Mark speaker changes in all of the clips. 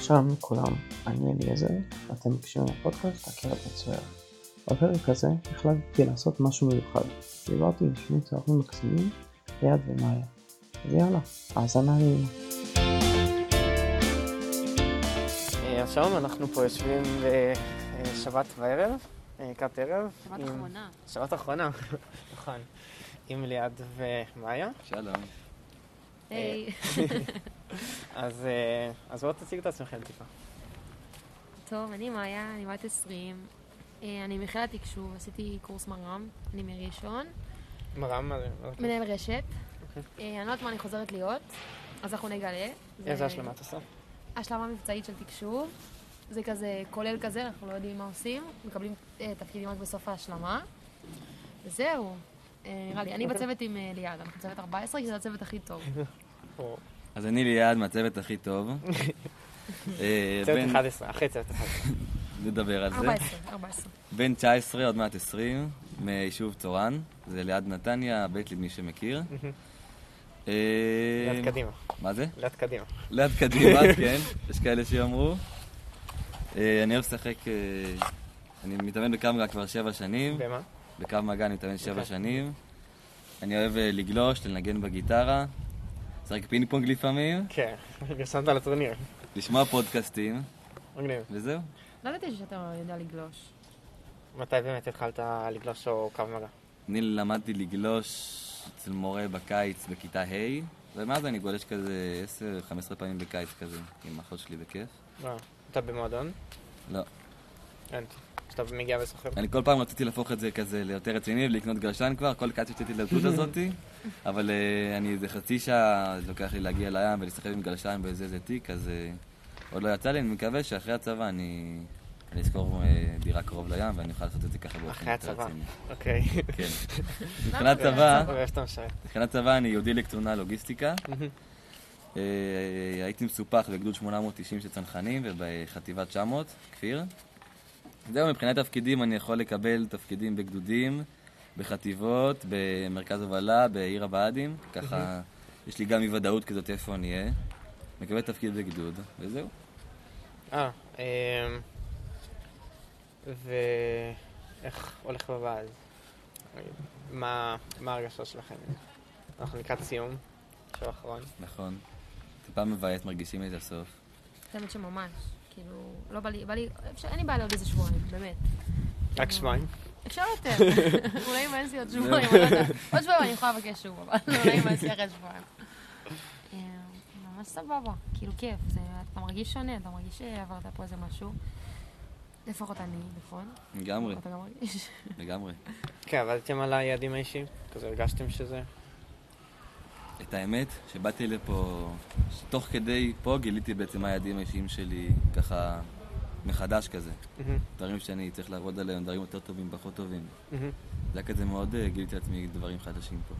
Speaker 1: שלום לכולם, אני אליעזר, ואתם מקשיבים לפודקאסט הקרב מצויר. בפרק הזה החלטתי לעשות משהו מיוחד, דיברתי עם שני צוערים מקסימים, ליעד ומאיה. אז יאללה, האזנה נעימה.
Speaker 2: אה, אז שלום, אנחנו פה יושבים בשבת בערב, לקראת ערב.
Speaker 3: שבת
Speaker 2: עם-
Speaker 3: אחרונה.
Speaker 2: שבת אחרונה, נכון. עם ליעד ומאיה.
Speaker 4: שלום,
Speaker 2: אה.
Speaker 3: היי,
Speaker 2: אז אה, אז בואו תציגו את עצמכם טיפה.
Speaker 3: טוב, אני מאיה, אני בת 20. אה, אני מכללת תקשוב, עשיתי קורס מר"ם, אני מראשון,
Speaker 2: מרם, מה זה? מה זה?
Speaker 3: מנהל רשת.
Speaker 2: אוקיי.
Speaker 3: אה, אני לא יודעת מה אני חוזרת להיות, אז אנחנו נגלה. זה-
Speaker 2: איזה השלמה את עושה?
Speaker 3: השלמה מבצעית של תקשוב. זה כזה כולל כזה, אנחנו לא יודעים מה עושים, מקבלים אה, תפקידים רק בסוף ההשלמה. זהו, אה, נראה לי.
Speaker 2: אוקיי.
Speaker 3: אני בצוות עם אה, ליעד, אנחנו צוות 14, כי זה הצוות הכי טוב.
Speaker 2: או
Speaker 4: אז אני ליעד מהצוות הכי טוב. אה,
Speaker 2: צוות
Speaker 4: בן-
Speaker 2: 11, אחרי צוות 11.
Speaker 4: נדבר על זה.
Speaker 3: 14, 14.
Speaker 4: בן 19, עוד מעט 20, מיישוב צורן. זה ליד נתניה, בית למי שמכיר. אה,
Speaker 2: ליד קדימה,
Speaker 4: מה זה?
Speaker 2: ליד קדימה.
Speaker 4: ליד קדימה, כן. יש כאלה שיאמרו. אה, אני אוהב לשחק... אה, אני מתאמן בקו מגע כבר שבע שנים.
Speaker 2: במה?
Speaker 4: בקו מגע אני מתאמן שבע
Speaker 2: אוקיי.
Speaker 4: שנים. אני אוהב אה, לגלוש, לנגן בגיטרה. לשחק פינג פונג לפעמים.
Speaker 2: כן, נרשמת לטורניר.
Speaker 4: לשמוע פודקאסטים.
Speaker 2: מגניב.
Speaker 4: וזהו.
Speaker 3: לא ידעתי שאתה יודע לגלוש.
Speaker 2: מתי באמת התחלת לגלוש או קו מגע?
Speaker 4: אני למדתי לגלוש אצל מורה בקיץ בכיתה ה', ומאז אני גולש כזה 10-15 פעמים בקיץ כזה, עם אחות שלי בכיף.
Speaker 2: לא. אתה במועדון?
Speaker 4: לא.
Speaker 2: אין. שאתה מגיע וסוחר?
Speaker 4: אני כל פעם רציתי להפוך את זה כזה ליותר רציני ולקנות גלשן כבר, כל קיץ רציתי לדלות הזאתי, אבל אה, אני איזה חצי שעה לוקח לי להגיע לים ולהסתכל עם גלשן באיזה איזה תיק, אז אה, עוד לא יצא לי, אני מקווה שאחרי הצבא אני... אני אשכור אה, דירה קרוב לים ואני אוכל לעשות את זה ככה באופן
Speaker 2: אחרי
Speaker 4: יותר
Speaker 2: הצבא.
Speaker 4: רציני.
Speaker 2: אוקיי.
Speaker 4: כן. מבחינת צבא,
Speaker 2: אוהב שאתה משרת.
Speaker 4: מבחינת צבא אני יהודי לקצונה לוגיסטיקה.
Speaker 2: מהמם.
Speaker 4: אה, הייתי מסופח בגדוד 890 של צנחנים ובחטיבה 900, כפיר. זהו, מבחינת תפקידים אני יכול לקבל תפקידים בגדודים, בחטיבות, במרכז הובלה, בעיר הבה"דים. ככה יש לי גם אי ודאות כזאת איפה אני אהיה. מקבל תפקיד בגדוד, וזהו.
Speaker 2: אה, אמ, ואיך הולך בבעל? מה מה ההרגשה שלכם? אנחנו לקראת סיום, עכשיו האחרון.
Speaker 4: נכון. טיפה מבאס, מרגישים את הסוף.
Speaker 3: זה האמת שממש, כאילו, לא בא לי, בא לי, אפשר- אין לי בעיה לעוד איזה שבועיים, באמת.
Speaker 2: רק שבועיים.
Speaker 3: אפשר יותר, אולי אם יש לי עוד שבועיים, אני לא יודעת. עוד שבועיים אני יכולה לבקש שוב, אבל אולי אם יש לי אחרי שבועיים. אה, ממש סבבה, כאילו כיף, זה- אתה מרגיש שונה, אתה מרגיש שעברת פה איזה משהו. לפחות אני, נכון?
Speaker 4: לגמרי,
Speaker 3: אתה גם מרגיש?
Speaker 4: לגמרי.
Speaker 2: כן, עבדתם על היעדים האישיים? כזה הרגשתם שזה?
Speaker 4: את האמת, שבאתי לפה, תוך כדי פה גיליתי בעצם מה היעדים האישיים שלי, ככה, מחדש כזה.
Speaker 2: מהמם,
Speaker 4: דברים שאני צריך לעבוד עליהם, דברים יותר טובים, פחות טובים.
Speaker 2: מהמם.
Speaker 4: זה היה כזה מאוד אה, גיליתי לעצמי דברים חדשים פה.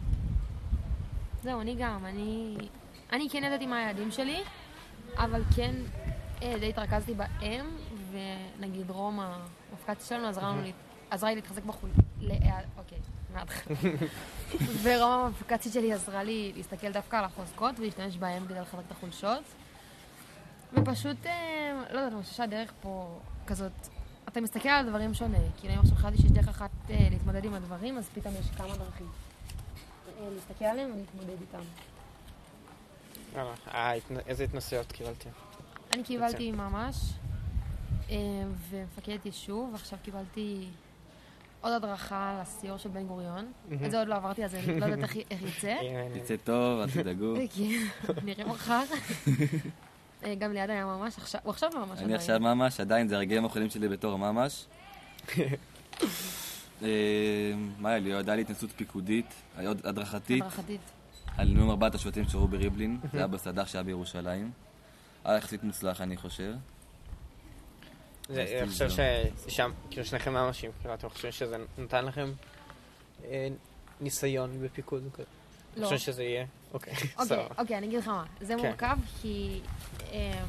Speaker 3: זהו, אני גם, אני... אני כן ידעתי מה היעדים שלי, אבל כן אה, די התרכזתי בהם, ונגיד רום, המפקד שלנו עזרה לנו, להת- עזרה לי להתחזק בחוליה, אוקיי, מההתחלה. ורום המפקדית שלי עזרה לי להסתכל דווקא על החוזקות ולהשתמש בהם כדי לחזק את החולשות. ופשוט, אה, לא יודעת, אני חושבת שהדרך פה כזאת, אתה מסתכל על דברים שונה. כאילו, אם עכשיו חשבתי שיש דרך אחת אה, להתמודד עם הדברים, אז פתאום יש כמה דרכים. אה, להסתכל עליהם ולהתמודד איתם.
Speaker 2: יאללה, אה, ההתנ- איזה התנסויות קיבלתם?
Speaker 3: אני קיבלתי ממש, אה, ומפקדת יישוב, עכשיו קיבלתי עוד הדרכה לסיור של בן גוריון. את זה עוד לא עברתי, אז אני לא יודעת איך- איך יצא.
Speaker 2: אם-
Speaker 4: יצא טוב, אל תדאגו.
Speaker 2: אה.
Speaker 3: כן, נראה מחר. אה, גם ליד היה ממש עכשיו, הוא עכשיו ממש
Speaker 4: אני עכשיו ממש, עדיין זה הרגעים האחרונים שלי בתור ממש. אה, מה היה לי? הייתה לי התנסות פיקודית, היה עוד הדרכתית,
Speaker 3: הדרכתית.
Speaker 4: על נאום ארבעת השבטים שראו בריבלין, זה היה בסד"ח שהיה בירושלים. היה יחסית מוצלח, אני חושב.
Speaker 2: זה-
Speaker 4: אז
Speaker 2: אני חושב
Speaker 4: תבדוק.
Speaker 2: ששם, כאילו שניכם ממשים, כאילו אתם חושבים שזה נתן לכם אה, ניסיון בפיקוד? כזה?
Speaker 3: לא.
Speaker 2: חושבים שזה יהיה? אוקיי,
Speaker 3: אוקיי,
Speaker 2: סבבה.
Speaker 3: אוקיי, אני אגיד לך מה. זה
Speaker 2: כן.
Speaker 3: מורכב כי אה,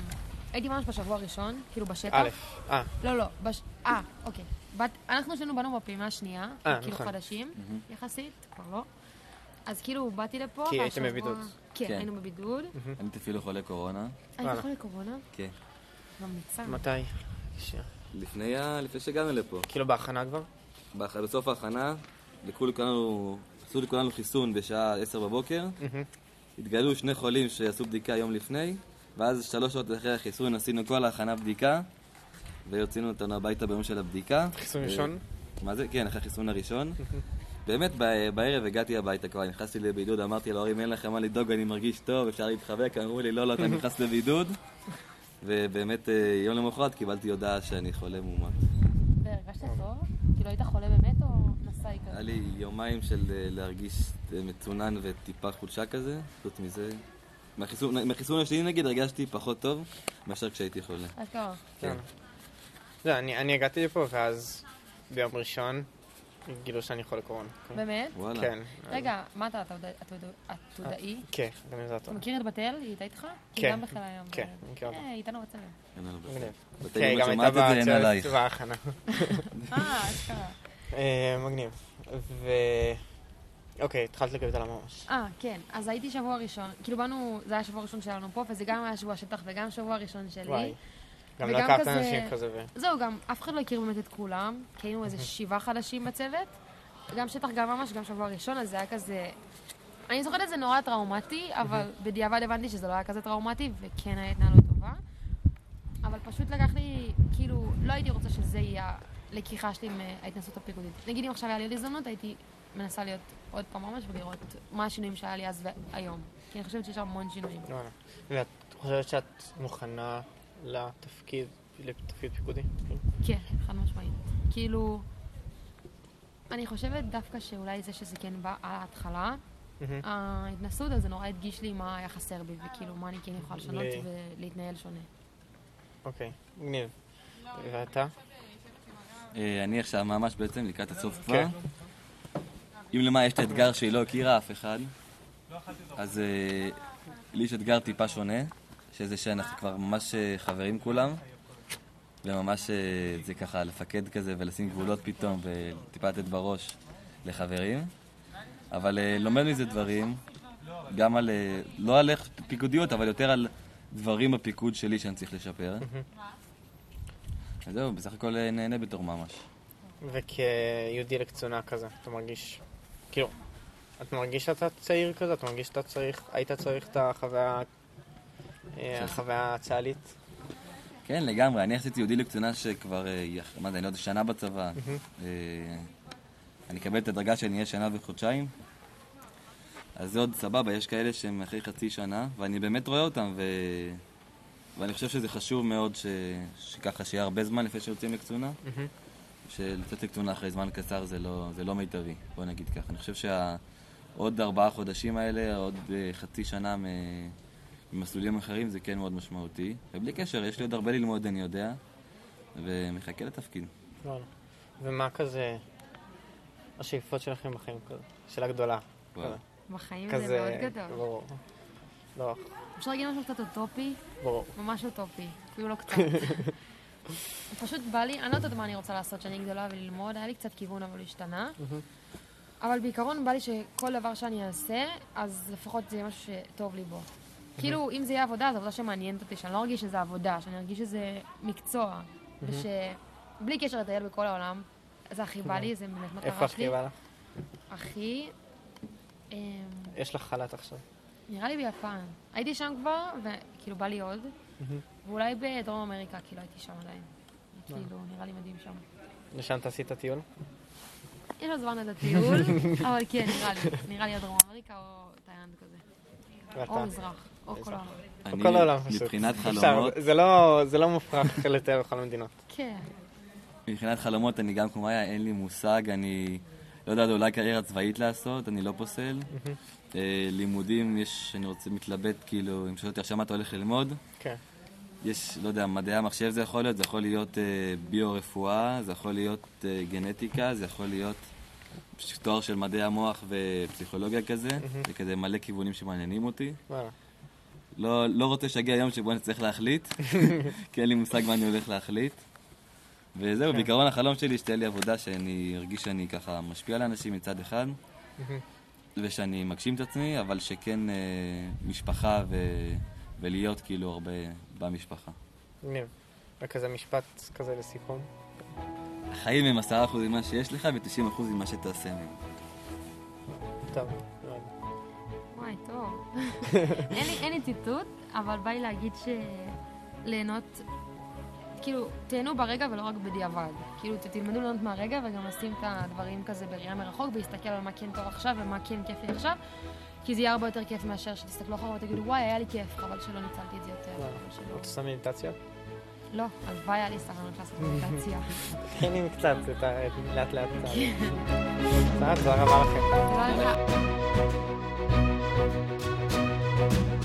Speaker 3: הייתי ממש בשבוע הראשון, כאילו בשטח.
Speaker 2: א', אה,
Speaker 3: לא, לא. בש- אה, אוקיי. בת- אנחנו שנינו באנו בפעימה השנייה,
Speaker 2: אה,
Speaker 3: כאילו
Speaker 2: נכון.
Speaker 3: חדשים,
Speaker 4: מהמם.
Speaker 3: יחסית, כבר לא. אז כאילו באתי לפה,
Speaker 2: כי הייתם
Speaker 3: והשבוע-
Speaker 2: בבידוד. אה,
Speaker 3: כן,
Speaker 4: כן.
Speaker 3: היינו בבידוד.
Speaker 4: אני הייתי אפילו חולה קורונה.
Speaker 3: הייתי
Speaker 2: וואלה.
Speaker 3: חולה קורונה.
Speaker 4: כן.
Speaker 3: ממליצה.
Speaker 2: מתי? ש-
Speaker 4: לפני ה- לפני שהגענו לפה.
Speaker 2: כאילו בהכנה כבר?
Speaker 4: באח- בסוף ההכנה, לקחו לכולנו, עשו לכולנו חיסון בשעה 10 בבוקר, התגלו שני חולים שעשו בדיקה יום לפני, ואז שלוש שעות אחרי החיסון עשינו כל ההכנה בדיקה, והוציאו אותנו הביתה ביום של הבדיקה.
Speaker 2: חיסון
Speaker 4: אה,
Speaker 2: ראשון?
Speaker 4: מה זה? כן, אחרי החיסון הראשון. באמת, ב- בערב הגעתי הביתה כבר, נכנסתי לבידוד, אמרתי להורים, אין לכם מה לדאוג, אני מרגיש טוב, אפשר להתחבק, אמרו לי, לא, לא, אתה נכנס לבידוד. ובאמת, אה, יום למחרת קיבלתי הודעה שאני חולה מומת.
Speaker 3: והרגשת
Speaker 2: אה.
Speaker 3: טוב? כאילו היית חולה באמת או נשאי כזה?
Speaker 4: היה לי יומיים של אה, להרגיש אה, מצונן וטיפה חולשה כזה, חוץ מזה. מהחיסון מהחיסון השני נגיד הרגשתי פחות טוב מאשר כשהייתי חולה.
Speaker 3: אשכרה.
Speaker 2: כן. לא, אני אני הגעתי לפה ואז ביום ראשון גילו שאני חולה קורונה.
Speaker 3: באמת?
Speaker 4: וואלה.
Speaker 2: כן.
Speaker 3: רגע, מה אתה, אתה עתודאי- עתודאי- עתודאי?
Speaker 2: כן, גם אם
Speaker 3: אתה
Speaker 2: זה הטוב.
Speaker 3: מכיר את בת-אל? היא הייתה איתך?
Speaker 2: כן.
Speaker 3: היא גם בחיל הים.
Speaker 2: כן, אני מכיר אותה.
Speaker 3: אה, היא איתנו בצלם.
Speaker 4: אין לנו בעיה.
Speaker 2: מגניב.
Speaker 4: ואתה
Speaker 2: כן,
Speaker 4: גם
Speaker 2: גם
Speaker 4: שומעת
Speaker 2: הייתה
Speaker 4: את זה, אין עלייך.
Speaker 2: בצוות ההכנה.
Speaker 3: אה, אשכרה.
Speaker 2: אה, מגניב. ו... אוקיי, התחלת לגבי על הממש.
Speaker 3: אה, כן. אז הייתי שבוע ראשון, כאילו באנו, זה היה שבוע ראשון שלנו פה, וזה גם היה שבוע שטח וגם שבוע ראשון שלי.
Speaker 2: וואי. גם לא
Speaker 3: וגם
Speaker 2: הכרת
Speaker 3: כזה-
Speaker 2: אנשים כזה ו...
Speaker 3: זהו, גם אף אחד לא הכיר באמת את כולם, כי היינו איזה שבעה חדשים בצוות. גם שטח, גם ממש, גם שבוע ראשון, אז זה היה כזה... אני זוכרת את זה נורא טראומטי, אבל בדיעבד הבנתי שזה לא היה כזה טראומטי, וכן הייתה התנהלות טובה. אבל פשוט לקח לי, כאילו, לא הייתי רוצה שזה יהיה הלקיחה שלי מההתנסות הפיקודית. נגיד אם עכשיו היה לי עוד הזדמנות, הייתי מנסה להיות עוד פעם ממש ולראות מה השינויים שהיה לי אז והיום. כי אני חושבת שיש המון שינויים.
Speaker 2: וואלה. לא, ואת חושבת שאת מוכנה לתפקיד, לתפקיד פיקודי?
Speaker 3: כן, חד משמעית. כאילו, אני חושבת דווקא שאולי זה שזה כן בא על ההתחלה,
Speaker 2: מהמם.
Speaker 3: ההתנסות הזה נורא הדגיש לי מה היה חסר בי, וכאילו, מה אני כן יכולה לשנות
Speaker 2: לי.
Speaker 3: ולהתנהל שונה.
Speaker 2: אוקיי, מגניב. ואתה?
Speaker 4: אה, אני עכשיו ממש בעצם לקראת הסוף כבר.
Speaker 2: כן.
Speaker 4: אם למה יש את האתגר שהיא לא הכירה אף אחד, אז אה, לי יש אתגר טיפה שונה, שזה שאנחנו כבר ממש אה, חברים כולם, וממש אה, זה ככה לפקד כזה ולשים גבולות פתאום וטיפה לתת בראש לחברים, אבל אה, לומד מזה דברים, גם על, אה, לא על איך פיקודיות, אבל יותר על דברים בפיקוד שלי שאני צריך לשפר. אז זהו, בסך הכל אה, נהנה בתור ממש.
Speaker 2: וכיהודי לקצונה כזה, אתה מרגיש... כאילו, את מרגיש שאתה צעיר כזה? אתה מרגיש שאתה צריך... היית צריך את החוויה... אה, החוויה הצה"לית?
Speaker 4: כן, לגמרי. אני עשיתי יהודי לקצונה שכבר, אה, היא אח- מה זה, אני לא יודע, שנה בצבא. אה, אני אקבל את הדרגה שאני אהיה שנה וחודשיים. אז זה עוד סבבה, יש כאלה שהם אחרי חצי שנה, ואני באמת רואה אותם, ו... ואני חושב שזה חשוב מאוד ש... שככה שיהיה הרבה זמן לפני שיוצאים לקצונה. שלצאת לקצונה אחרי זמן קצר זה לא, זה לא מיטבי, בוא נגיד ככה. אני חושב שהעוד ארבעה חודשים האלה, עוד אה, חצי שנה מ... ממסלולים אחרים, זה כן מאוד משמעותי. ובלי קשר, יש לי עוד הרבה ללמוד, אני יודע, ומחכה לתפקיד.
Speaker 2: וואלה. לא, ומה כזה... השאיפות שלכם בחיים כזה? שאלה גדולה.
Speaker 4: וואו.
Speaker 3: בחיים
Speaker 2: כזה...
Speaker 3: זה מאוד
Speaker 2: כזה...
Speaker 3: גדול.
Speaker 2: ברור. לא,
Speaker 3: אפשר להגיד משהו קצת אוטופי?
Speaker 2: ברור.
Speaker 3: ממש אוטופי, אפילו לא קצת. פשוט בא לי, אני לא יודעת מה אני רוצה לעשות כשאני גדולה וללמוד, היה לי קצת כיוון אבל הוא השתנה. אבל בעיקרון בא לי שכל דבר שאני אעשה, אז לפחות זה יהיה משהו שטוב לי בו. כאילו,
Speaker 2: אוקיי.
Speaker 3: אם זה יהיה עבודה, זו עבודה שמעניינת אותי, שאני לא ארגיש שזה עבודה, שאני ארגיש שזה מקצוע.
Speaker 2: אוקיי.
Speaker 3: ושבלי קשר לטייל בכל העולם, זה הכי בא לי, זה באמת מטרה שלי.
Speaker 2: כן. איפה הכי בא לך?
Speaker 3: הכי... אמ,
Speaker 2: יש לך חל"ת עכשיו.
Speaker 3: נראה לי ביפן. הייתי שם כבר, וכאילו בא לי עוד. ואולי בדרום אמריקה, כאילו הייתי שם עדיין. כאילו, נראה לי מדהים שם.
Speaker 2: לשם תעשי את הטיול?
Speaker 3: יש עוד זמן עד הטיול, אבל כן, נראה לי. נראה לי או דרום אמריקה או תאילנד כזה. או
Speaker 2: ואתה?
Speaker 3: מזרח, או כל העולם.
Speaker 4: אני,
Speaker 2: כל העולם פשוט.
Speaker 4: מבחינת
Speaker 2: אפשר,
Speaker 4: חלומות,
Speaker 2: זה לא- זה לא מופרך לתאר בכל המדינות.
Speaker 3: כן.
Speaker 4: מבחינת חלומות אני גם כמו מאיה, אין לי מושג, אני לא יודע, אולי קריירה צבאית לעשות, אני לא פוסל. אה, לימודים, יש, אני רוצה, מתלבט, כאילו, אם שואל אותי עכשיו מה אתה הולך ללמוד,
Speaker 2: כן.
Speaker 4: יש, לא יודע, מדעי המחשב זה יכול להיות, זה יכול להיות אה, ביו-רפואה, זה יכול להיות אה, גנטיקה, זה יכול להיות פש- תואר של מדעי המוח ופסיכולוגיה כזה, זה כזה מלא כיוונים שמעניינים אותי.
Speaker 2: וואלה.
Speaker 4: לא, לא רוצה שיגיע יום שבו אני צריך להחליט, כי אין לי מושג מה אני הולך להחליט. וזהו, בעיקרון החלום שלי שתהיה לי עבודה שאני ארגיש שאני ככה משפיע על אנשים מצד אחד, ושאני מגשים את עצמי, אבל שכן אה, משפחה ו... ולהיות כאילו הרבה במשפחה.
Speaker 2: מגניב. וכזה משפט כזה לסיכום.
Speaker 4: החיים הם 10% ממה שיש לך ו-90% ממה שתעשה מהם.
Speaker 2: טוב, מאוד.
Speaker 3: וואי, טוב. אין לי- אין לי ציטוט, אבל בא לי להגיד ש... ליהנות, כאילו, תהנו ברגע ולא רק בדיעבד. כאילו, ת- תלמדו ליהנות מהרגע וגם לשים את הדברים כזה בראייה מרחוק, ולהסתכל על מה כן טוב עכשיו ומה כן כיף לי עכשיו, כי זה יהיה הרבה יותר כיף מאשר שתסתכלו אחורה ותגידו, וואי, היה לי כיף, חבל שלא ניצלתי את זה יותר. חבל שלא."
Speaker 2: אתה עושה מדיטציות?
Speaker 3: לא, הלוואי היה לי סבלנות לעשות מדיטציה.
Speaker 2: כן, עם קצת, את ה- לאט לאט. אה, תודה רבה לכם.
Speaker 3: תודה לך.